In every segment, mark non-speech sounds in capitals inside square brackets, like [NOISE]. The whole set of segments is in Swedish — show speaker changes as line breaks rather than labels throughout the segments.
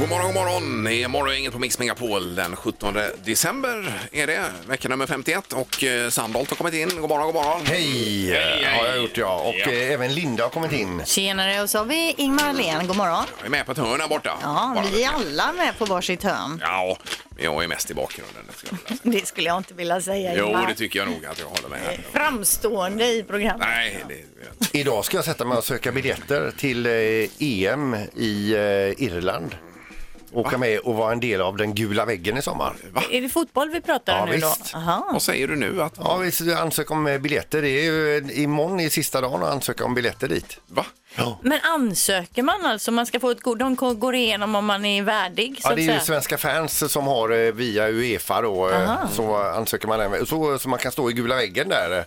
god morgon! Det är morgongänget på Mix Megapol den 17 december är det, vecka nummer 51 och eh, Sandholt har kommit in. God morgon, god morgon!
Hej, har jag gjort ja. Och eh, även Linda har kommit in.
Tjenare, och så har vi Ingmar Ahlén. God morgon.
Jag är med på ett hörn här borta.
Ja,
Bara-
vi är alla med på varsitt hörn.
Ja, men jag är mest i bakgrunden. skulle jag vilja säga.
Det skulle jag inte vilja säga,
Jo,
Ingmar.
det tycker jag nog att jag håller med. här.
Framstående i programmet.
Nej, det
Idag ska jag sätta mig och söka biljetter till eh, EM i eh, Irland. Åka med och vara en del av den gula väggen i sommar.
Är det fotboll vi pratar
Ja,
om nu
visst.
då? Aha.
Vad säger du nu? Att...
Ja, vi ansöker om eh, biljetter. Det är ju eh, imorgon är sista dagen att ansöka om biljetter dit.
Va?
Ja.
Men ansöker man alltså? Man ska få ett god... De ko- går igenom om man är värdig så
Ja,
att
det är ju
säga.
svenska fans som har eh, via Uefa då, eh, så ansöker man även, så, så man kan stå i gula väggen där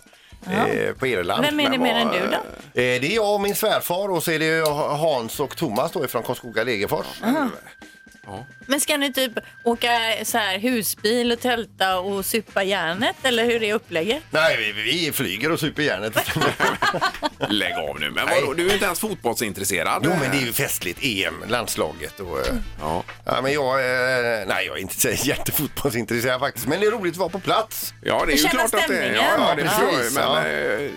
eh, på Irland.
Vem är det mer än
vad,
du då?
eh, Det är jag och min svärfar och så är det ju Hans och Thomas då ifrån Karlskoga Degerfors.
Men ska ni typ åka så här husbil och tälta och supa järnet eller hur är upplägget?
Nej, vi, vi flyger och super järnet.
[LAUGHS]
Lägg av nu. Men vadå, du är ju inte ens fotbollsintresserad.
jo, men det är ju festligt. EM, landslaget och... eh,
Ja.
Ja, men jag, eh, nej, jag är inte så jättefotbollsintresserad faktiskt, men det är roligt att vara på plats.
Ja, det är ju
Känna
klart att det är.
stämningen.
Ja, ja, det
Ja,
förstår jag.
precis,
Men
ja.
eh,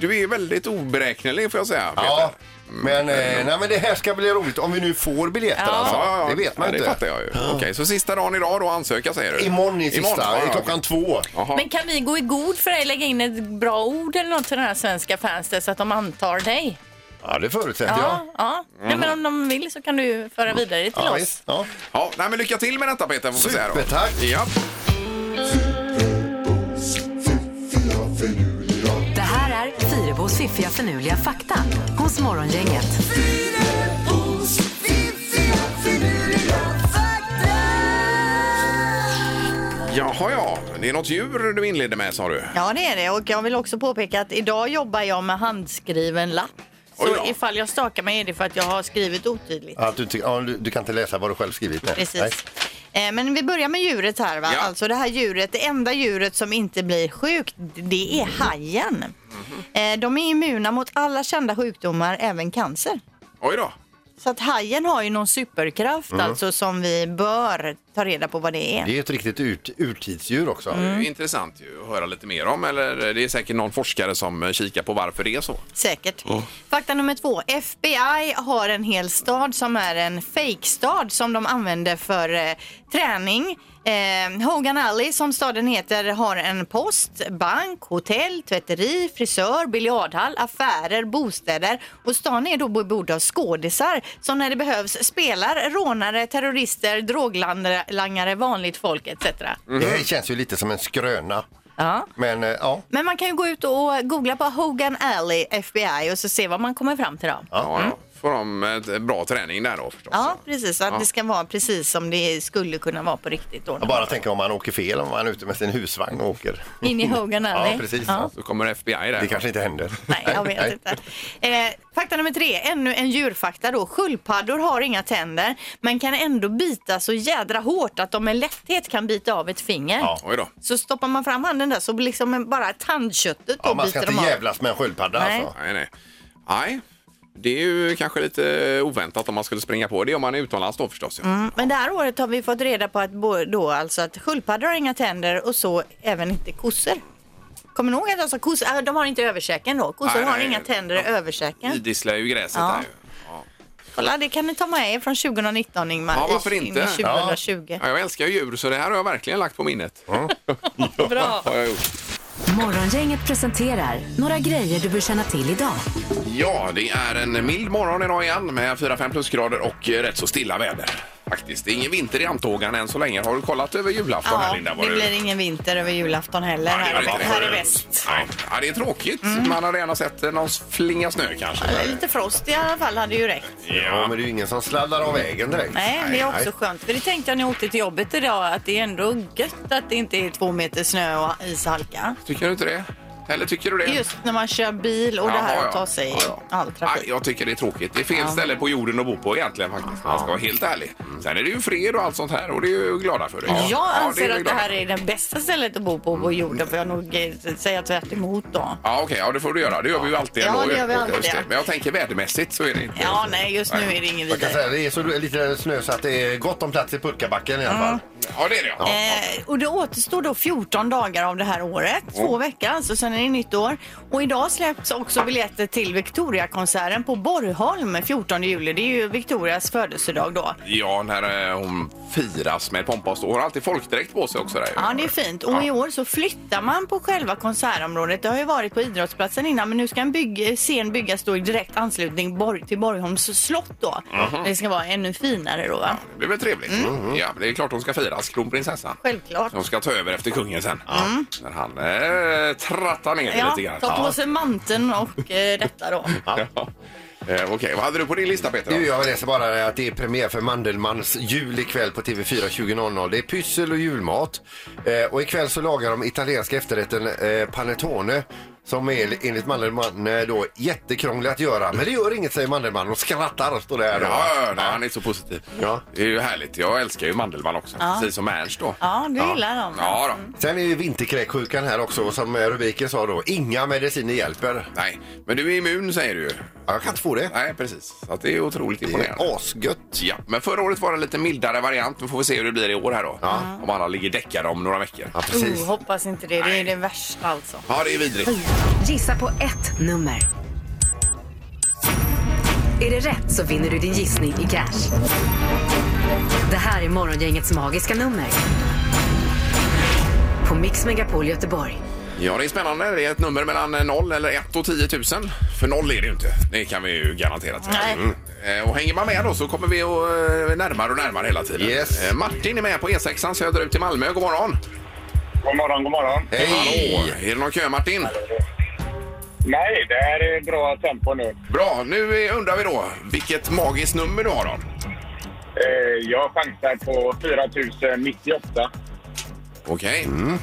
du är väldigt oberäknelig får jag säga, Peter. Mm.
Ja, men, eh, nej, men det här ska bli roligt om vi nu får biljetter alltså. Det vet man
ja,
inte.
Det fattar jag ju. Okej, så sista dagen idag då ansöka säger du?
Imorgon är sista,
Imorgon, ja, ja,
klockan
okej.
två.
Jaha.
Men kan vi gå i god för dig, lägga in ett bra ord eller något till den här svenska fansen så att de antar dig?
Ja, det förutsätter
Ja,
jag.
ja. Nej, men om de vill så kan du föra vidare till
Ja,
oss.
visst. Ja.
Ja, nej, men lycka till med detta Peter får vi säga då.
Supertack.
Ja.
Det här är Fyrabos fiffiga förnuliga fakta hos Morgongänget.
Jaha, ja. Det är något djur du inledde med sa du.
Ja, det är det. Och jag vill också påpeka att idag jobbar jag med handskriven lapp. Så
Oj då.
ifall jag stakar mig är det för att jag har skrivit otydligt.
Att du, ty- ja, du, du kan inte läsa vad du själv skrivit. Nej. Nej.
Precis. Eh, Men vi börjar med djuret här. Va?
Ja.
Alltså det här djuret, det enda djuret som inte blir sjukt, det är hajen. Eh, De är immuna mot alla kända sjukdomar, även cancer.
Oj då.
Så att hajen har ju någon superkraft alltså som vi bör ta reda på vad det är.
Det är ett riktigt urt, urtidsdjur också.
Mm.
Det är ju intressant ju att höra lite mer om. Eller det är säkert någon forskare som eh, kikar på varför det är så.
Säkert. Fakta nummer två. FBI har en hel stad som är en fake-stad som de använder för eh, träning. Eh, Hogan Alley, som staden heter, har en post, bank, hotell, tvätteri, frisör, biljardhall, affärer, bostäder. Och stan är då bebodd av skådisar som när det behövs spelar rånare, terrorister, droglangare, vanligt folk etc.
Det här känns ju lite som en skröna.
Ja.
Men eh, ja,
Men man kan ju gå ut och googla på Hogan Alley FBI och så se vad man kommer fram till då.
Ja,
Mm.
ja. Får de eh, bra träning där då förstås.
Ja,
alltså.
precis. Så att
Ja.
det ska vara precis som det skulle kunna vara på riktigt. Då.
jag bara tänker om man åker fel, om man är ute med sin husvagn och åker.
In i Hogan Alley.
Ja, precis.
Ja.
Så kommer FBI där.
Det kanske inte händer.
Nej, jag vet inte. Eh, fakta nummer tre, ännu en djurfakta då. Sköldpaddor har inga tänder, men kan ändå bita så jädra hårt att de med lätthet kan bita av ett finger.
Ja.
Oj då.
Så stoppar man fram handen där så liksom bara tandköttet då
Ja, man ska
biter
inte
de av.
jävlas med en sköldpadda
Nej.
alltså.
Nej, nej. Nej. Det är ju kanske lite oväntat om man skulle springa på det om man är utomlands då förstås. ju.
Mm, Men det här året har vi fått reda på att, bo- då, alltså att sköldpaddor har inga tänder och så även inte kossor. Kommer ni ihåg att jag sa kossor? Äh, De har inte överkäken då. Kossor
Nej,
har
nej,
inga tänder i
ja.
överkäken.
idisslar ju gräset
Ja.
där ju. Ja.
Kolla, det kan ni ta med er från 2019 Ingmar.
Ja, varför
i- in i
inte?
2020.
Ja, jag älskar ju djur så det här har jag verkligen lagt på minnet.
Bra.
Har jag gjort.
Morgongänget presenterar några grejer du bör känna till idag.
Ja, det är en mild morgon idag igen med 4-5 plusgrader och eh, rätt så stilla väder. Faktiskt, det är ingen vinter i Antågan än så länge. Har du kollat över julafton här
Ja,
Linda? Var
det
du-
blir ingen vinter över julafton heller
Ja, det
här,
gör inte det.
här i väst. Mm.
Nej. Ja, det är tråkigt. Man hade gärna sett eh, någon flinga snö kanske.
Eller Lite frost i alla fall hade ju räckt.
Ja, men det är ju ingen som sladdar av vägen direkt.
Nej, det är också
nej.
skönt. För det tänkte jag när jag åkte till jobbet idag att det är ändå gött att det inte är två meter snö och ishalka.
Tycker du inte det? Eller tycker du det?
Just när man kör bil och det här
Jaha,
att ta sig i
Ja, ja.
all
Nej,
trafik.
jag tycker det är tråkigt. Det är fel ställe på jorden att bo på egentligen faktiskt. Man ska vara helt ärlig. Sen är det ju fred och allt sånt här och det är ju glada för. Det.
Jag anser
vi
att det
glada
här
för.
är det bästa stället att bo på på jorden får jag nog eh, säga tvärt emot då.
Ja, okej, ja, det får du göra. Det gör vi ju alltid
Ja,
ändå.
det gör vi alltid.
Just det. Men jag tänker vädermässigt så är det inte.
Ja, nej, just nu är det ingen
Jag kan
vidare.
säga, det är så lite snö så att det är gott om plats i pulkabacken i alla fall.
Ja, det är det. Ja.
Eh, och det återstår då 14 dagar av det här året. Två veckor alltså, sen är det nytt år. Och idag släpps också biljetter till Victoria-konserten på Borgholm 14 juli. Det är ju Victorias födelsedag då.
Ja, när eh, hon firas med pompa och stå. Hon har alltid folkdräkt på sig också. Där. ju.
Ja, det är fint. Och i år så flyttar man på själva konsertområdet. Det har ju varit på idrottsplatsen innan, men nu ska en bygg, scen byggas då i direkt anslutning bor- till Borgholms slott då. Det ska vara ännu finare då, va?
Det blir väl trevligt.
Mm.
Mm. Ja, det är klart hon ska firas, kronprinsessan.
Självklart.
Hon ska ta över efter kungen sen. När han eh, trattar ner
Mm. Ja,
lite grann.
ta på sig manteln och eh, detta då.
Ja. Eh, Okej, vad hade du på din lista Peter?
Nu, jag läser bara att det är premiär för Mandelmans jul ikväll på TV4 20.00. Det är pyssel och julmat. Eh, och ikväll så lagar de italienska efterrätten eh, panettone som är enligt Mandelmann eh, då jättekrånglig att göra. Men det gör inget säger Mandelmann och skrattar står det här då.
Ja, ja, nej, han är så positiv.
Ja.
Det är ju härligt. Jag älskar ju Mandelmann också, precis som Ernst då.
Ja, du gillar dem.
Ja, då.
Sen är ju vinterkräksjukan här också och som eh, rubriken sa då. Inga mediciner hjälper.
Nej, men du är immun säger du ju.
Ja, jag kan inte få det.
Nej, precis. Så att det är otroligt
Det är
imponerande.
asgött.
Ja, men förra året var det en lite mildare variant. Nu får vi se hur det blir i år här då. Om alla ligger däckade om några veckor.
Ja, precis.
Oh, hoppas inte det. Det är det värsta alltså.
Ja, det är vidrigt.
Gissa på ett nummer. Är det rätt så vinner du din gissning i cash. Det här är Morgongängets magiska nummer. På Mix Megapol Göteborg.
Ja, det är spännande. Det är ett nummer mellan 0 eller 1 och 10 000. För 0 är det ju inte. Det kan vi ju garanterat säga.
Nej.
Mm. Eh, Och hänger man med då så kommer vi att, eh, närmare och närmare hela tiden.
Yes.
Eh, Martin är med på E6 söderut till Malmö. God morgon!
God morgon, god morgon.
Hallå!
Hej!
Är det någon kö, Martin?
Nej, det här är bra tempo nu.
Bra, nu eh, undrar vi då vilket magiskt nummer du har då.
Eh, jag chansar på 4098.
Okej.
Mm.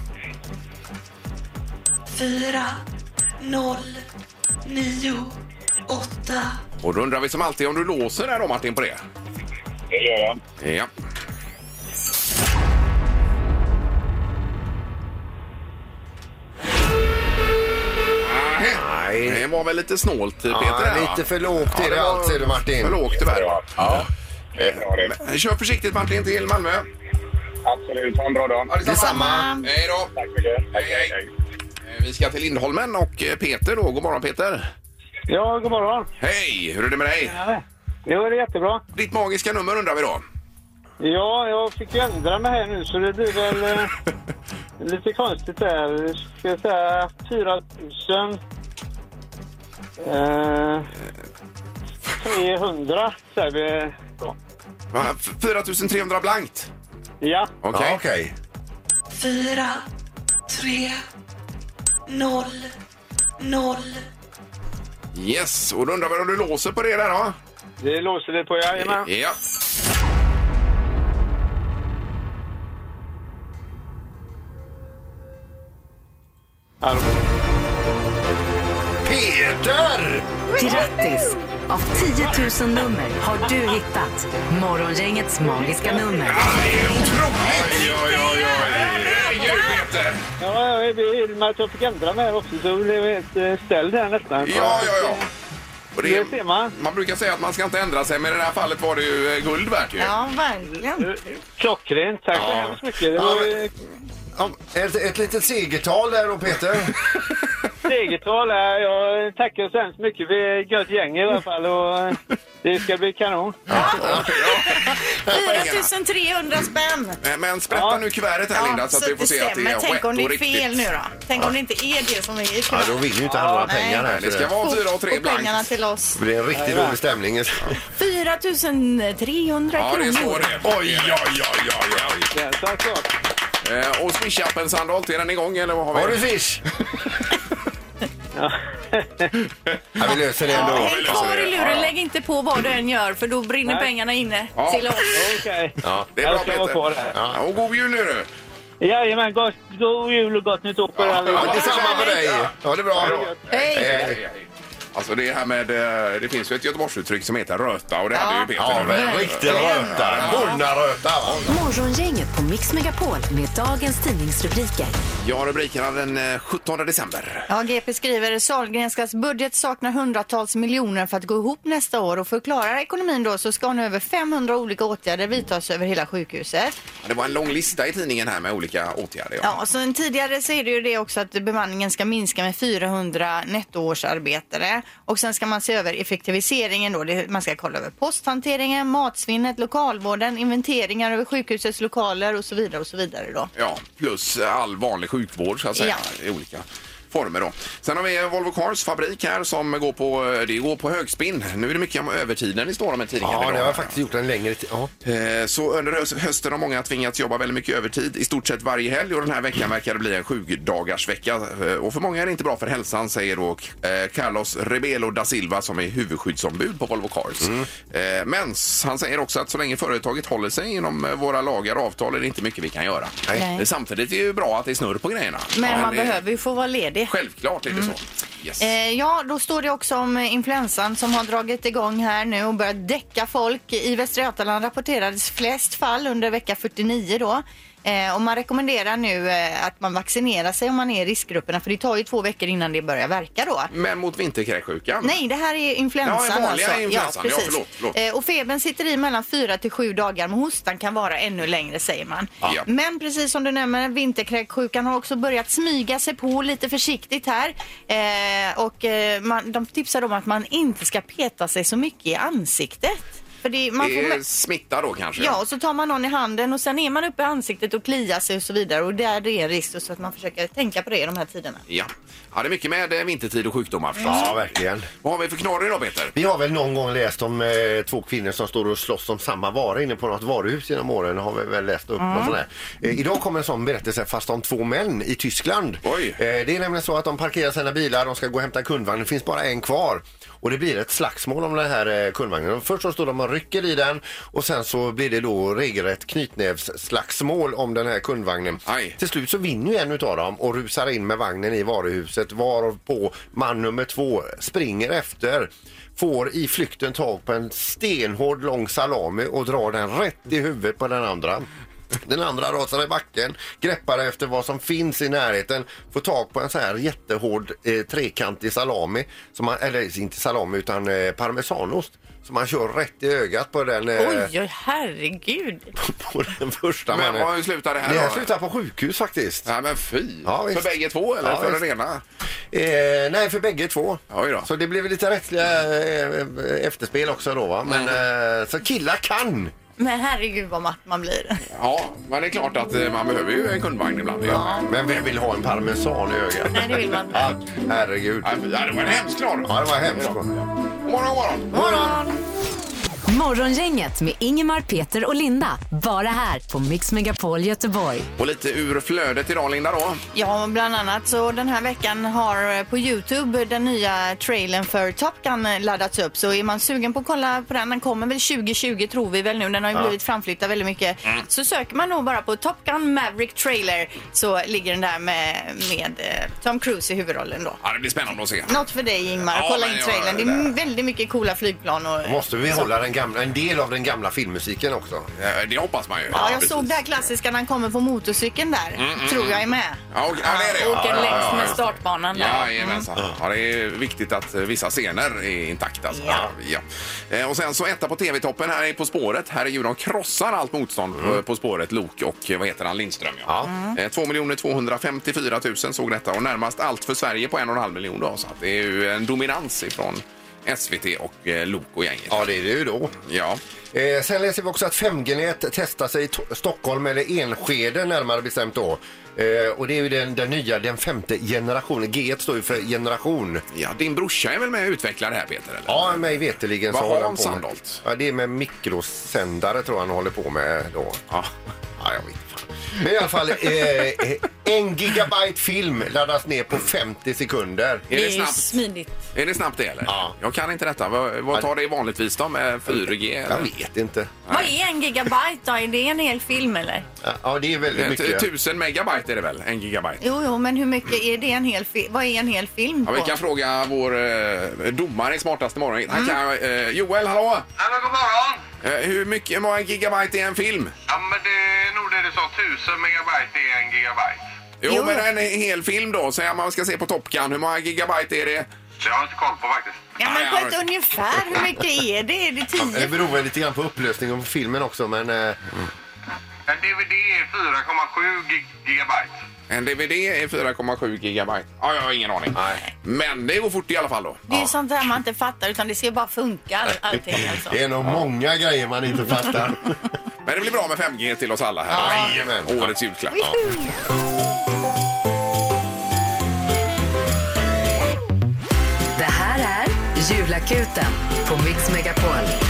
fyra noll nio åtta
Och då undrar vi som alltid om du låser där då Martin på det.
Det gör jag.
Ja. Nej. Det var väl lite snålt Peter?
Ja,
här, va?
lite för lågt
Ja,
är det
var
allt säger du Martin.
För lågt tyvärr.
Ja.
Ja.
Det är bra det.
Men Kör försiktigt Martin till Malmö.
Absolut, ha en bra dag.
Detsamma.
Hej då.
Tack så mycket. Hej, hej, hej.
Eh, Vi ska till Lindholmen och eh, Peter då. God morgon Peter.
Ja, god morgon.
Hej, hur är det med dig?
Jo, det är jättebra.
Ditt magiska nummer undrar vi
[LAUGHS]
då.
Ja, jag fick ju ändra mig här nu så det blir väl eh, lite konstigt där. Ska jag säga 4000... Eh, 300 säger vi.
Va? F- 4300 blankt.
Ja,
Okej.
Ja, okej.
fyra tre noll noll
Yes, och då undrar vi om du låser på det där då?
det låser vi på. Jajamän.
Ja.
Hallå.
Peter!
Grattis! Av 10 000 nummer har du hittat Morgongängets magiska nummer.
det är otroligt! Oj, oj, oj, oj. Herregud, Peter!
Ja, jag är i och med att jag fick ändra mig här också så blev jag helt eh, ställd här nästan.
Ja, ja, ja. Och det,
Det ser man.
man brukar säga att man ska inte ändra sig, men i det här fallet var det ju eh, guld värt ju.
Ja, verkligen.
Klockrent. Tack så
Ja.
hemskt mycket. Det
Ja,
var
men-
eh,
Ja, Ett, ett litet segertal där då Peter.
segertal här. Jag tackar så hemskt mycket. Vi är ett gött gäng i alla fall och eh, det ska bli kanon.
Okej, [LAUGHS] ja.
4300 spänn!
Men- Eh, Men sprätta
Ja.
nu kuvertet här, Linda, så att vi får se att det är
Men tänk om det är
rätt och
fel nu
riktigt.
då? Tänk om det inte är det som är i
Ja, då vill ju inte han ha
nej.
pengar här.
Nej, det
så
ska vara fyra och tre
Och pengarna
blankt.
till oss.
det blir en riktigt dålig stämning.
4300
Ja, det är så
kronor.
det Oj, oj, oj, oj, oj.
Ja, tack så.
Eh, Och swish-appen Sandholt, är den igång eller vad har vi?
Har du fish? ja, vi löser det
Ja,
ändå.
häng
löser
kvar
det.
i
Ja,
luren,
ja.
lägg inte på vad du än gör för då brinner
Nej.
pengarna inne
Ja.
till oss.
[LAUGHS] Okej.
Det är
Jag
bra
ska vara kvar
Peter.
här.
Ja, och god jul nu du.
Jajamän, gott, god jul och gott nytt år på er allihopa.
Ja, detsamma på dig. Ja, det är bra.
Hej,
Eh,
hej, hej. Alltså det här med, eh, det finns ju ett Göteborgsuttryck som heter röta och det hade ju
Ja,
Peter nu.
men riktig röta. Bonnaröta.
Morgongänget på Mix Megapol med dagens tidningsrubriker.
Ja, rubrikerna den eh, 17 december.
Ja, GP skriver Sahlgrenskas budget saknar hundratals miljoner för att gå ihop nästa år och förklarar ekonomin då så ska nu över 500 olika åtgärder vidtas över hela sjukhuset.
Det var en lång lista i tidningen här med olika åtgärder. Ja.
Ja, och sen tidigare så är det ju det också att bemanningen ska minska med 400 nettoårsarbetare och sen ska man se över effektiviseringen då. Det- Man ska kolla över posthanteringen, matsvinnet, lokalvården, inventeringar över sjukhusets lokaler och så vidare och så vidare då.
ja, plus all vanlig sjukvård så att säga i olika former då. Sen har vi Volvo Cars fabrik här som går på, det går på högspinn. Nu är det mycket om övertiden i står om i tidningen
Ja,
idag.
det har jag faktiskt gjort en längre tid. Ja.
Eh, Så under hö- hösten har många tvingats jobba väldigt mycket övertid i stort sett varje helg och den här veckan verkar det bli en sjudagarsvecka. Eh, Och för många är det inte bra för hälsan säger då eh, Carlos Rebelo da Silva som är huvudskyddsombud på Volvo Cars.
Mm.
Eh, Men s- han säger också att så länge företaget håller sig inom eh, våra lagar och avtal är det inte mycket vi kan göra.
Nej.
Eh, Samtidigt är det ju bra att det är snurr på grejerna.
Men man
det-
behöver ju få vara ledig.
Självklart är det så. Yes.
Eh, ja, då står det också om eh, influensan som har dragit igång här nu och börjat däcka folk. I Västra Götaland rapporterades flest fall under vecka 49 då. Eh, och man rekommenderar nu eh, att man vaccinerar sig om man är i riskgrupperna för det tar ju två veckor innan det börjar verka då.
Men mot vinterkräksjukan.
Nej, det här är influensan.
Ja, vanliga
alltså.
influensan. Ja, förlåt, förlåt.
Eh, och febern sitter i mellan 4 till 7 dagar, men hostan kan vara ännu längre säger man.
Ja.
Men precis som du nämner, vinterkräksjukan har också börjat smyga sig på lite försiktigt här. Eh, och eh, man, de tipsar om att man inte ska peta sig så mycket i ansiktet. För det, man får
det är
med-
smitta då kanske?
Ja, och så tar man någon i handen och sen är man uppe i ansiktet och kliar sig och så vidare. Och där det är en risk så att man försöker tänka på det i de här tiderna.
Ja. ja, det är mycket med eh, vintertid och sjukdomar
Mm.
förstås.
ja, verkligen.
Vad har vi för knorr idag Peter?
Vi har väl någon gång läst om eh, två kvinnor som står och slåss om samma vara inne på något varuhus genom åren. Har vi väl läst upp någon sån här. Eh, idag kommer en sån berättelse fast om två män i Tyskland.
Oj.
Eh, det är nämligen så att de parkerar sina bilar, de ska gå och hämta en kundvagn, det finns bara en kvar. Och det blir ett slagsmål om den här eh, kundvagnen. Och Först så står de och rycker i den och sen så blir det då regelrätt knytnävsslagsmål om den här kundvagnen.
Aj.
Till slut så vinner ju en utav dem och rusar in med vagnen i varuhuset varpå man nummer två springer efter får i flykten tag på en stenhård lång salami och drar den rätt i huvudet på den andra. Den andra rasar i backen, greppar efter vad som finns i närheten, får tag på en så här jättehård eh, trekantig salami, som man, eller inte salami utan eh, parmesanost, som man kör rätt i ögat på den, eh,
Oj, oj, herregud.
[LAUGHS] på den första
Men
mannen.
vad slutar det här
Det här
då?
slutar på sjukhus faktiskt.
Ja, men fy!
Ja,
för
visst.
bägge två eller
Ja,
för
visst.
den ena?
Eh, nej, för bägge två.
Oj då.
Så det blev lite rättsliga eh, eh, efterspel också då. Va? Men, eh, så killar kan!
Men herregud vad matt man blir.
Ja, men det är klart att eh, man behöver ju en kundvagn ibland. Ja.
Men vem vill ha en parmesan i ögat?
Nej, det vill man inte.
Ah, herregud.
Ja, fy, ja, det var en hemsk knorr!
Ja, det var hemskt.
God morgon, god morgon!
Morgongänget med Ingemar, Peter och Linda. Bara här på Mix Megapol Göteborg.
Och lite ur flödet idag Linda då.
Ja, bland annat så den här veckan har eh, på Youtube den nya trailern för Top Gun eh, laddats upp. Så är man sugen på att kolla på den, den kommer väl 2020 tror vi väl nu. Den har ju blivit framflyttad väldigt mycket.
Mm.
Så söker man nog bara på Top Gun Maverick trailer så ligger den där med, med eh, Tom Cruise i huvudrollen då.
Ja, det blir spännande att se.
Något för dig Ingmar,
Ja,
kolla
men
in
jag-
trailern. Det är väldigt mycket coola flygplan och...
Måste vi hålla den gamla, en del av den gamla filmmusiken också?
Eh, Det hoppas man ju.
Ja, jag
precis.
såg det här klassiska när han kommer på motorcykeln där. tror jag är med.
Ja, och- mm. ja, det är det.
Han åker
Ja, ja,
längs
ja,
med
just det.
startbanan där.
Jajamensan. Ja, Mm. det är viktigt att eh, vissa scener är intakta. Alltså. Ja.
Ja.
Eh, Och sen så etta på TV-toppen här är På spåret. Här är ju de krossar allt motstånd eh, På spåret, Lok och eh, vad heter han, Lindström. Ja. Eh, 2 254 000 såg detta och närmast allt för Sverige på en och en halv miljon. Då, så att det är ju en dominans ifrån SVT och eh, Lok och gänget. Ja.
Ja, det är det ju då. Eh, sen läser vi också att 5G-nät testar sig i to- Stockholm, eller Enskede närmare bestämt då. Eh, och det är ju den, den nya, den femte generationen. G1 står ju för generation.
Ja, din brorsa är väl med och utvecklar det här Peter? Eller?
Ja, mig veterligen så
Vad
håller
har
han på med.
Sandholt?
Ja, det är med mikrosändare tror jag han håller på med då.
Ja.
Ja, jag vet inte. fan. Men i alla fall, eh, en gigabyte film laddas ner på 50 sekunder.
Är
Det
det
är ju
snabbt?
smidigt.
Är det snabbt det eller?
Ja.
Jag kan inte detta. Vad, vad tar det vanligtvis då med 4G?
Jag
eller?
vet inte.
Vad är en gigabyte då? Är det en hel film eller?
Ja, det är typ- väldigt
Eh,
mycket.
1000 megabyte är det väl? En gigabyte?
Jo, jo, men hur mycket är det en hel film? Vad är en hel film
Ja,
på?
vi kan fråga vår eh, domare i smartaste morgon.
Mm.
Han kan, eh, Joel, hallå!
Ja, men god morgon!
Eh, hur mycket, hur många gigabyte är en film?
Ja, men det är nog det du sa. 1000 megabyte är en gigabyte.
Jo, men en hel film då. Säg att man ska se på Top Gun. Hur många gigabyte är det?
Så jag har inte koll på faktiskt.
Ja, men på ett ungefär, hur mycket är det? Är det
Det
tio?
beror väl lite grann på upplösningen på filmen också, men... Eh,
En DVD är 4,7 gig- gigabyte.
En DVD är 4,7 gigabyte. Ja, jag har ingen aning.
Nej.
Men det går fort i alla fall då.
Det är ju sånt där man inte fattar utan det ska bara funka allting alltså.
det är nog många grejer man inte fattar.
Men det blir bra med 5G till oss alla här.
Ja. Jajamän.
Årets julklapp.
Det här är Julakuten på Mix Megapol.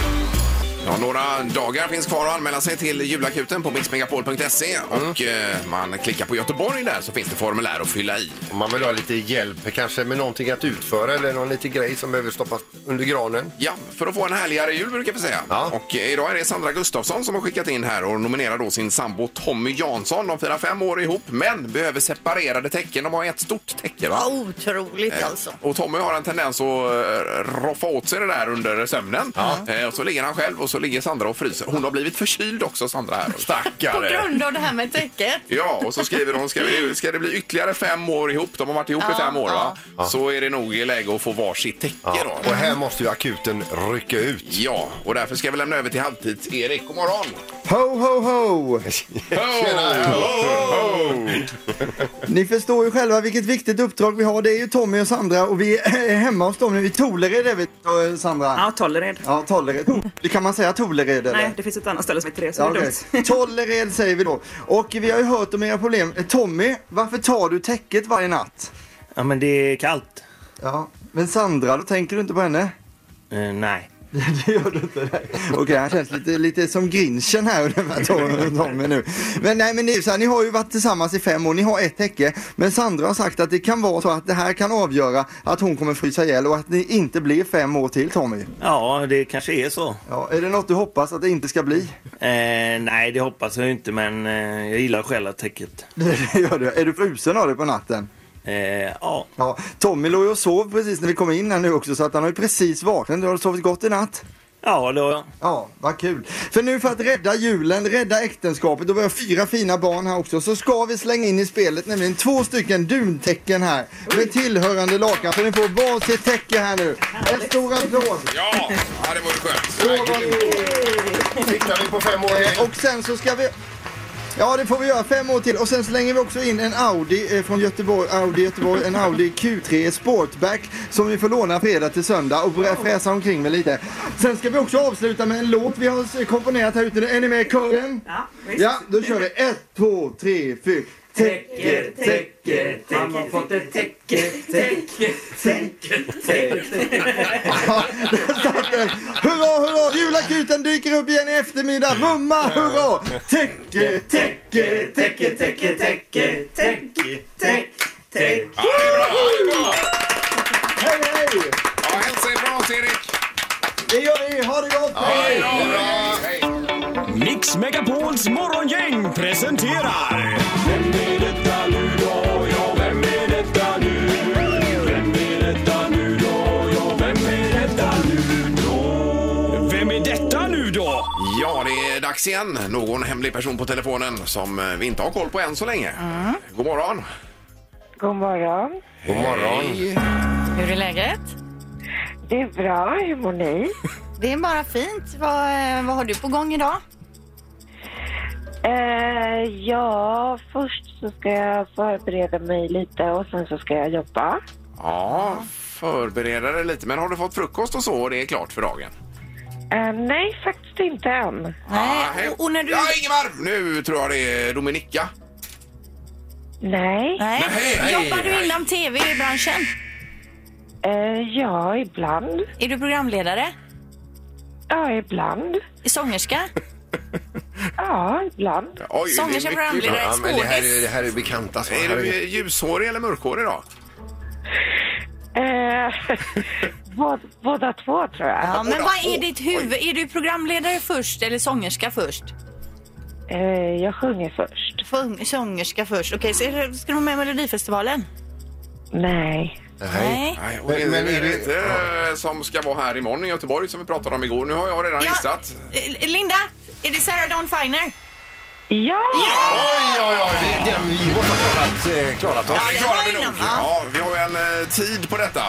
Ja, några dagar finns kvar att anmäla sig till julakuten på mixmegapol.se
Mm.
och eh, man klickar på Göteborg där så finns det formulär att fylla i.
Om man vill ha lite hjälp kanske med någonting att utföra eller någon liten grej som behöver stoppas under granen.
Ja, för att få en härligare jul brukar vi säga.
Ja.
Och eh, idag är det Sandra Gustafsson som har skickat in här och nominerar då sin sambo Tommy Jansson. De firar fem år ihop men behöver separerade tecken. De har ett stort täcke va?
Ja, Otroligt alltså.
Och Tommy har en tendens att eh, roffa åt sig det där under sömnen. Eh, Och så ligger han själv och så ligger Sandra och fryser. Hon har blivit förkyld också Sandra här.
På
Stackare!
grund av det här med täcket.
Ja, och så skriver hon, ska, vi, ska det bli ytterligare fem år ihop? De har varit ihop i fem år va? Så är det nog i läge att få varsitt täcke
Ja,
då.
och här måste ju akuten rycka ut.
Ja, och därför ska vi lämna över till halvtids-Erik. God morgon!
Ho, ho, ho!
Tjena!
Ni förstår ju själva vilket viktigt uppdrag vi har. Det är ju Tommy och Sandra och vi är hemma hos dem nu i Tolered är vi, eh, Sandra. Ja, Tolered. Ja, Tolered. Det kan man säga Tolered eller? Nej, det finns ett annat ställe som heter det, så [LAUGHS] ja, det Tolered säger vi då. Och vi har ju hört om era problem. Eh, Tommy, varför tar du täcket varje natt?
Ja, men det är kallt.
Ja, men Sandra, då tänker du inte på henne?
Eh, nej.
[LAUGHS] Det gör du inte. nej. Okej, han känns lite, lite som grinchen här, [LAUGHS] den här Tom- Tommy nu. Men nej, men det är ju så här, ni har ju varit tillsammans i fem år, ni har ett täcke. Men Sandra har sagt att det kan vara så att det här kan avgöra att hon kommer frysa ihjäl och att ni inte blir fem år till Tommy.
Ja, det kanske är så.
Ja, är det något du hoppas att det inte ska bli?
Eh, nej, det hoppas jag inte, men eh, jag gillar själva täcket.
[LAUGHS] Det gör du. Är du frusen av det på natten?
Eh, ja.
Ja, Tommy låg ju och sov precis när vi kom in här nu också så att han har ju precis vaknat. Du har sovit gott i natt?
ja, det har jag.
Ja, vad kul. För nu för att rädda julen, rädda äktenskapet och vi har fyra fina barn här också så ska vi slänga in i spelet nämligen två stycken duntäcken här med tillhörande lakan. Så ni får varsitt täcke här nu. En stor applåd.
Ja, ja, det var ju
Så
skönt.
var det.
Siktar vi på fem år igen?
Eh, Och sen så ska vi... Ja, det får vi göra. Fem år till. Och sen slänger vi också in en Audi eh, från Göteborg, Audi Göteborg, en Audi Q3 Sportback som vi får låna fredag till söndag och börja fräsa omkring med lite. Sen ska vi också avsluta med en låt vi har s- komponerat här ute. Är ni med i kören? Ja, Ja, då kör vi. Ett, två, tre, fyra. Täcke, täcke, han har fått ett täcke, täcke, täcke, täcke. Ja, där satt den. Hurra, hurra! Julakuten dyker upp igen i eftermiddag. Mumma, hurra! Täcke, täcke, täcke, täcke, täcke, täcke, täcke, täcke.
Ja, det är bra. det är bra.
Hej, hej!
Ja, hälsa er bra Erik!
Det gör vi. Ha det gott! Hej!
Hej.
Mix Megapols morgongäng presenterar... Vem är detta nu då?
Ja, det är dags igen. Någon hemlig person på telefonen som eh, vi inte har koll på än så länge.
Mm.
God morgon!
God morgon.
God morgon.
Hur är läget?
Det är bra. Hur mår ni?
Det är bara fint. Vad, eh, vad har du på gång idag?
Eh, ja, först så ska jag förbereda mig lite och sen så ska jag jobba.
Ja, förbereda dig lite. Men har du fått frukost och så och det är klart för dagen?
Eh, nej, faktiskt inte än.
Ah, hej.
Nej, Eh, och, och när du...
Ja, Ingemar! Nu tror jag det är Dominika.
Nej.
Nej.
Nej, nej,
Jobbar
nej.
du inom tv-branschen?
Eh, ja, ibland.
Är du programledare?
Ja, ibland.
Sångerska?
Ja, ibland.
Oj, det är
Sångerska
mycket-
programledare,
Ja, men det här är- det här är bekanta svar.
Är du ljushårig eller mörkhårig då?
Eh, [LAUGHS] båda, båda två tror jag.
Ja, men vad är ditt huvud? Är du programledare först eller sångerska först?
Eh, jag sjunger först.
Sjung- Sångerska först. Okej, så är det- ska du vara med i Melodifestivalen?
Nej.
Nej.
Nej, och men, är det inte eh, som ska vara här imorgon i Göteborg som vi pratade om igår? Nu har jag redan
Ja.
gissat.
Eh, Linda, är det Sarah Dawn Finer?
Ja!
Oj, oj, oj! Vi, den, vi måste ha klarat, eh, klarat oss.
Ja, det klarar vi nog. Ja, vi har ju en eh, tid på detta,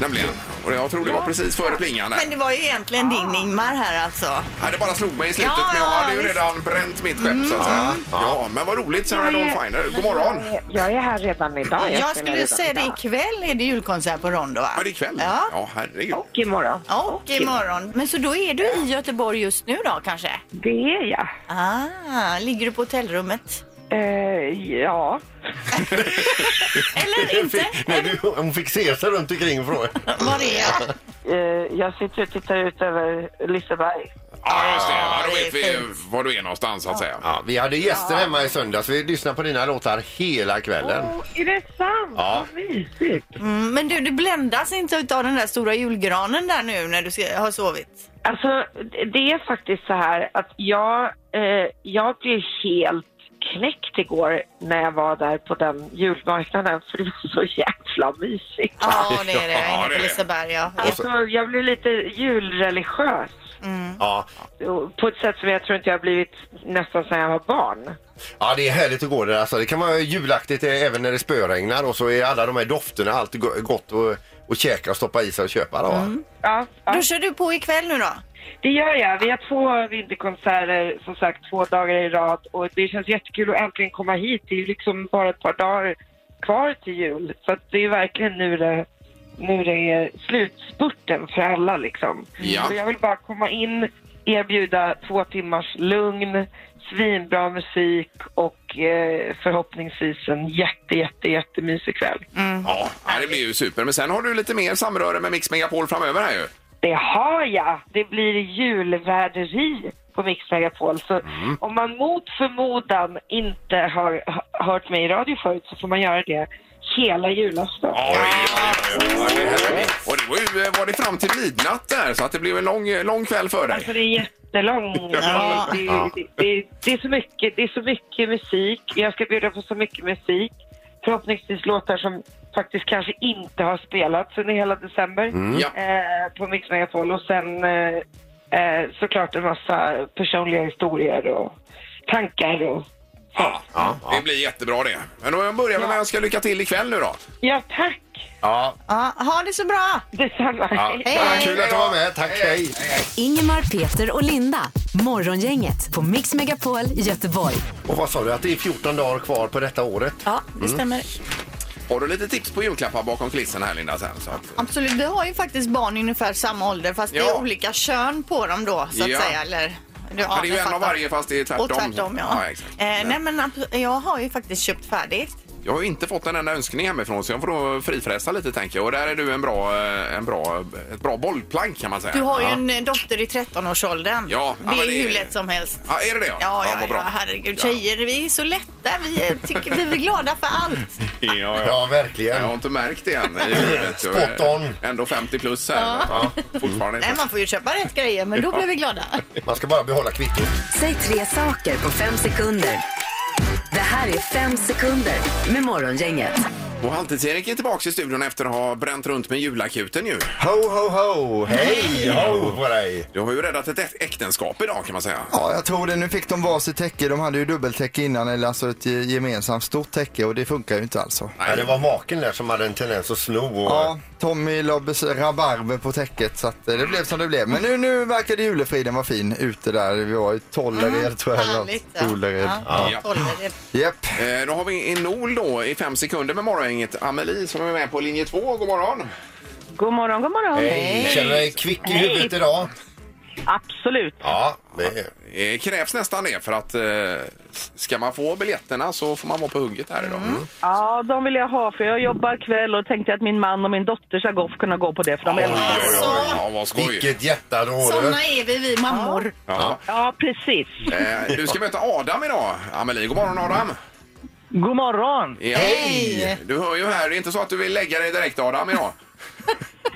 nämligen. Och jag tror det var precis före plingan. där.
Men det var ju egentligen din Ingmar här alltså.
Ja, det bara slog mig i slutet,
Ja,
men jag
ja,
hade ju
visst.
redan bränt mitt skepp så att säga. Ja, men vad roligt, Sarah
Jag
Dawn
är-
Finer. God morgon!
Jag är- Jag är här redan idag.
Jag,
spelar
skulle
redan
säga det
idag.
ikväll är det julkonsert på Rondo va?
Ja, det är kväll.
Ja.
Ja, herregud.
Och imorgon.
Och imorgon. Men så då är du i Göteborg just nu då kanske?
Det är jag.
Ah, ligger du
[LAUGHS]
på hotellrummet?
Eh, ja.
Eller inte?
Nej, du, hon fick se sig runt omkring och fråga.
Var är jag?
Eh, jag sitter och tittar ut över Liseberg.
Ja, just det. Ja, då vet vi var du är någonstans så att säga.
Ja, vi hade gäster hemma i söndags. Vi lyssnade på dina låtar hela kvällen.
är det sant?
Ja.
Vad mysigt.
Mm, men du, du bländas inte av den där stora julgranen där nu när du ska, har sovit?
Alltså, det är faktiskt så här att jag, eh, jag blev helt knäckt igår när jag var där på den julmarknaden för det var så jäkla mysigt.
Ja, det är det. Jag är
Ja, det är
inne på
det.
Liseberg, ja.
Alltså, jag blev lite julreligiös
Ja.
och på ett sätt som jag tror inte jag har blivit nästan sedan jag var barn.
ja, det är härligt att gå där. Alltså, det kan vara julaktigt eh, även när det spöregnar och så är alla de här dofterna alltid go- gott att och käka och stoppa i sig och köpa. Då.
Ja, ja.
Då kör du på ikväll nu då?
Det gör jag. Vi har två vinterkonserter, som sagt, två dagar i rad. Och det känns jättekul att äntligen komma hit. Det är ju liksom bara ett par dagar kvar till jul. Så att det är verkligen nu det, nu det är slutspurten för alla liksom.
Ja.
Så jag vill bara komma in, erbjuda två timmars lugn, svinbra musik och eh, förhoppningsvis en jätte, jätte, jättemysig kväll.
Ja, ja, det blir ju super. Men sen har du lite mer samröre med Mix Megapol framöver här ju.
Det har jag! Det blir julvärderi på Mix Megapol. Så
Mm.
om man mot förmodan inte har h- hört mig i radio förut så får man göra det hela julafton.
Ja, det är- det är härligt. Och det var ju eh, var det fram till midnatt där, så att det blev en lång, eh, lång kväll för dig.
Alltså det är jättelång.
[LAUGHS] Ja.
Det, det, det, det, det, är så mycket, det är så mycket musik. Jag ska bjuda på så mycket musik. Förhoppningsvis låtar som faktiskt kanske inte har spelats under hela december
Mm.
Ja.
eh, på Mix Megapol. Och sen eh, eh, såklart en massa personliga historier och tankar. Och...
Ja, det blir jättebra det. Men då börjar vi med att önska lycka till ikväll nu då.
Ja, tack!
Ja.
Ja, ha det så bra!
Detsamma.
Ja.
Hej.
Ja, kul att du var med. Tack, hej.
Ingemar, Peter och Linda. Morgongänget på Mix Megapol Göteborg.
Och vad sa du, att det är 14 dagar kvar på detta året?
Ja, det stämmer.
Mm.
Har du lite tips på julklappar bakom kulisserna här Linda sen? Så att...
Absolut, vi har ju faktiskt barn i ungefär samma ålder fast det
Ja.
är olika kön på dem då så att
Ja.
säga. Eller, du,
Men det är ju
ni
en av
fattar.
varje fast det är tvärtom.
Och tvärtom ja.
exakt.
eh, nej men abs- jag har ju faktiskt köpt färdigt.
Jag har ju inte fått en enda önskning hemifrån så jag får då frifräsa lite tänker jag. Och där är du en bra, eh, en bra, ett bra bollplank kan man säga.
Du har ju
ja.
en eh, dotter i 13-årsåldern.
Ja, ja,
det
men
är
det-
hur lätt som helst.
Ja, är det det?
Ja, ja,
vad
ja,
bra.
herregud.
Ja.
Tjejer, vi är så lätta. Vi är, tycker, vi är glada för allt.
Ja, ja.
Ja,
Jag har
verkligen.
inte märkt det än. i livet. Jag är
Spot on.
Ändå 50 plus här. Ja. Fortfarande
Nej,
inte.
man får ju köpa rätt grejer, men då blir vi glada.
Man ska bara behålla kvittot.
Säg tre saker på fem sekunder. Det här är fem sekunder med Morgongänget.
Och Halvtids-Erik är tillbaka i studion efter att ha bränt runt med julakuten ju.
Ho, ho, ho! Hej! Ho på dig!
Du har ju räddat ett ä- äktenskap idag kan man säga.
Ja, jag tror det. Nu fick de varsitt täcke. De hade ju dubbeltäcke innan, eller alltså ett ge- gemensamt stort täcke och det funkar ju inte alltså.
Ja, det var maken där som hade en tendens att sno. Och...
Ja, Tommy la bes- rabarber på täcket så att eh, det blev som det blev. Men nu, nu verkade julefriden vara fin ute där. Vi var i Tollered tror jag. eller något.
Härligt.
Tollered.
Ja.
Ja.
Håller det.
Japp.
Eh, Då har vi en Nol då i fem sekunder med morgongänget. Amelie som är med på linje 2. God morgon!
God morgon, god morgon.
Hej! Känner dig kvick i huvudet idag?
Absolut.
Ja,
det Eh, krävs nästan det för att eh, ska man få biljetterna så får man vara på hugget här idag.
Mm.
Ja, de vill jag ha för jag jobbar kväll och tänkte att min man och min dotter ska gå, kunna gå på det för de älskar det.
Alltså.
Ja, vad skoj.
Vilket hjärta du
Såna är vi, vi mammor.
Ja.
Ja, precis.
Eh, du ska möta Adam idag, Amelie. God morgon Adam!
God morgon!
Ja.
Hej!
Du hör ju här, det är inte så att du vill lägga dig direkt Adam idag?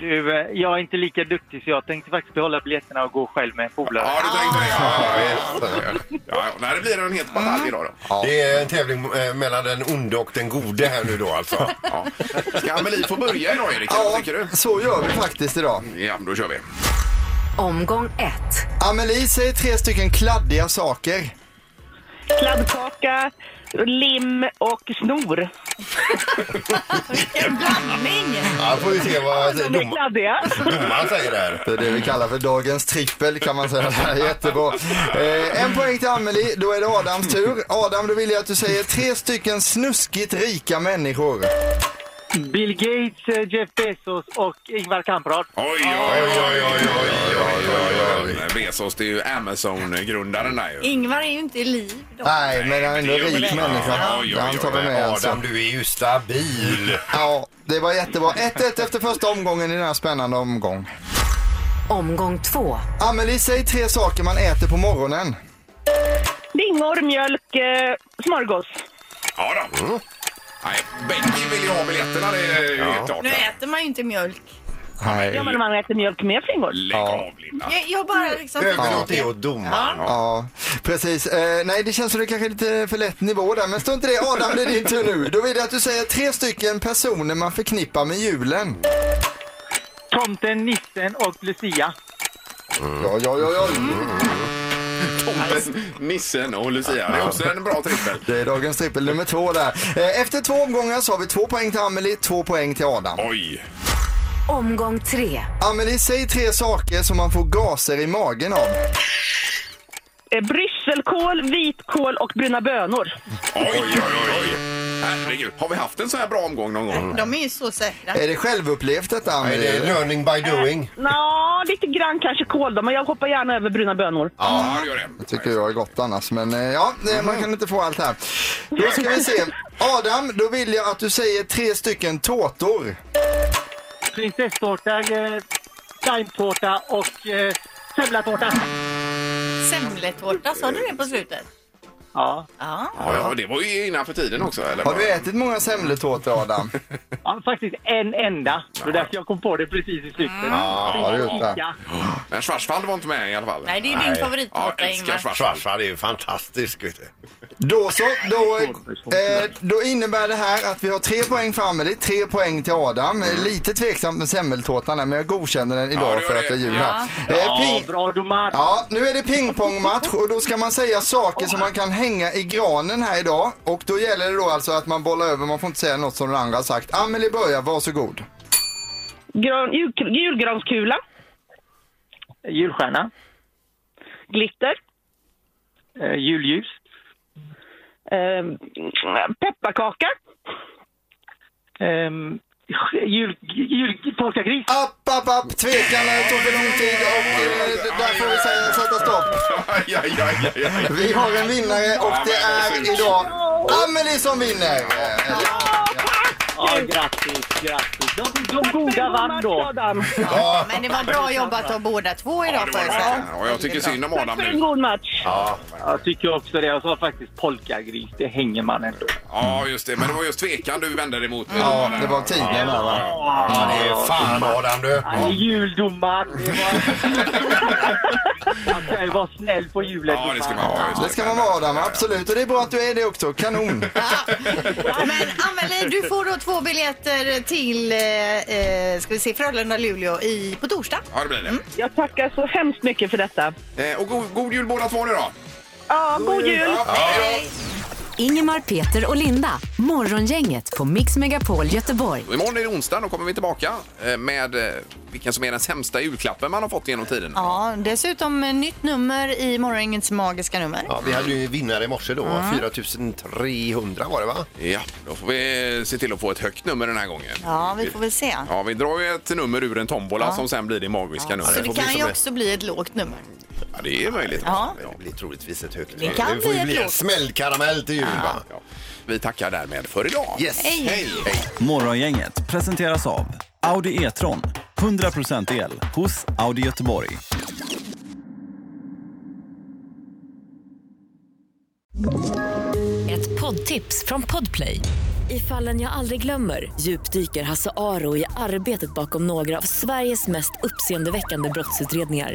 Du, eh, jag är inte lika duktig så jag tänkte faktiskt behålla biljetterna och gå själv med en polare.
Ja, du tänkte det. Ja, ja, ja. Nej, det blir en helt batalj idag då.
Det är en tävling eh, mellan den onde och den gode här nu då alltså.
Ja. Ska Amelie få börja idag Erik?
Ja, så gör vi faktiskt idag.
Ja, då kör vi.
Omgång 1. Amelie säger tre stycken kladdiga saker.
Kladdkaka, lim och snor.
Vilken blandning!
Ja, får vi se vad
De är kladdiga.
domaren säger där.
Det är det vi kallar för dagens trippel kan man säga. Det här är jättebra. Eh, en poäng till Amelie, då är det Adams tur. Adam, då vill jag att du säger tre stycken snuskigt rika människor.
Bill Gates, eh, Jeff Bezos och Ingvar Kamprad.
Oj, oj, oj, oj, oj, oj, oj, oj, oj. Bezos, det är ju Amazon-grundaren där ju.
Ingvar är ju inte i liv då.
Nej, men han är ändå en rik människa.
Oj, oj,
Han tar vi
oj.
med alltså.
Eh, Adam, du är ju stabil.
[LAUGHS] Ja, det var jättebra. 1-1 efter första omgången i den här spännande omgång. Omgång två. Amelie, säg tre saker man äter på morgonen.
Dingor, mjölk, eh, smörgås.
Ja då.
Mm.
Nej, Bengt vill ju ha biljetterna, det är ju helt klart.
Nu äter man ju inte mjölk.
Ja, men man äter mjölk med flingor.
Lägg av, Linda.
Jag, jag bara liksom...
åt
domaren.
Ja, precis. Eh, nej, det känns som det kanske är lite för lätt nivå där, men strunt i det. Adam, det är din tur nu. Då vill jag att du säger tre stycken personer man förknippar med julen.
Tomten, nissen och Lucia.
Ja, ja, ja, ja.
Tomten, [LAUGHS] Nissen och Lucia. Det är också en bra trippel.
Det är dagens trippel nummer två där. Eh, efter två omgångar så har vi två poäng till Amelie, två poäng till Adam.
Oj!
Omgång tre. Amelie, säg tre saker som man får gaser i magen av.
Eh, Brysselkål, vitkål och bruna bönor.
Oj, oj, oj, oj. Herregud, har vi haft en så här bra omgång någon
Mm.
gång?
De är ju så säkra.
Är det självupplevt detta, Amelie?
det är learning by doing.
Nå, lite grann kanske kål då, men jag hoppar gärna över bruna bönor.
Ja, det gör det.
Jag tycker jag är gott annars, men eh, ja, det- man kan inte få allt här. Då ska vi se. Adam, då vill jag att du säger tre stycken tårtor.
Prinsesstårta, eh, daimtårta och eh, semlatårta.
Semletårta, sa du det på slutet?
Ja.
Ja.
Ja, ja, det var ju innanför tiden också. Eller?
Har du ätit många semletårtor, Adam?
ja, faktiskt en enda. Det var därför jag kom på det precis i slutet.
Ja, det är gjort det.
Ica.
Men Schwarzwald var inte med i alla fall.
Nej, det är ju din favoritlåt,
Ja,
Ingmar.
älskar Schwarzwald.
Schwarzwald är ju fantastisk. Vet du.
Då så, då, eh, då innebär det här att vi har tre poäng för Amelie, tre poäng till Adam. Eh, Lite tveksamt med semmeltårtan där, men jag godkänner den idag för att det är jul här. Eh,
Ja,
ping-
bra domar.
Ja, nu är det pingpongmatch och då ska man säga saker som man kan hänga i granen här idag. Och då gäller det då alltså att man bollar över, man får inte säga något som den andra har sagt. Amelie börjar, varsågod.
Gran, jul, julgranskula.
Julstjärna.
Glitter.
Eh, julljus.
Eh, pepparkaka.
Ehm, jul, jul, polkagris.
App, app, app, tvekan eh, tog för lång tid och eh, där får vi säga sätta stopp.
Aj, aj, aj, aj, aj.
[LAUGHS] Vi har en vinnare och det är idag Amelie som vinner. Eh,
Ja, grattis, grattis. De, de goda vann då.
Ja, men det var bra jobbat av båda två idag får jag säga.
Ja, jag tycker synd om Adam
Tack för
nu.
en god match.
Ja.
Jag tycker också det. Jag sa faktiskt polkagris. Det hänger man ändå.
ja, just det. Men det var just tvekan du vände dig mot.
Ja, det var tiden där va?
Ja, det är fan Adam du.
Nej, juldomar. det var- Man
[LAUGHS]
kan ju vara snäll på julen.
Ja, det ska man ha. just
Det ska man vara Adam, absolut. Och det är bra att du är det också, kanon.
Men Amelie, du får då två biljetter till eh, eh, ska vi se, Frölunda-Luleå i, på torsdag.
Ja, det blir
Mm.
det.
Jag tackar så hemskt mycket för detta.
Eh, och god, god jul båda två nu då.
Ja, god jul!
Ingemar, Peter och Linda. Morgongänget på Mix Megapol Göteborg.
Och Imorgon är det onsdag, då kommer vi tillbaka eh, med eh, vilken som är den sämsta julklappen man har fått genom tiden.
Ja, dessutom eh, nytt nummer i Morgongängets magiska nummer.
Ja, vi hade ju en vinnare i morse då.
Mm.
4300 var det va?
Ja, då får vi eh, se till att få ett högt nummer den här gången.
Ja, vi får väl se.
Ja, vi drar ju ett nummer ur en tombola
Ja.
som sen blir det magiska numret.
Så det kan ju också bli ett lågt nummer.
Ja, det är möjligt.
Ja.
Men det blir troligtvis ett högt
Det kan
Det får
bli
ju
ett
bli en
lågt.
smällkaramell till jul, va?
Vi tackar därmed för idag.
Yes.
Hej.
Morgongänget presenteras av Audi E-tron. 100% el hos Audi Göteborg.
Ett poddtips från Podplay. I fallen jag aldrig glömmer djupdyker Hasse Aro i arbetet bakom några av Sveriges mest uppseendeväckande brottsutredningar.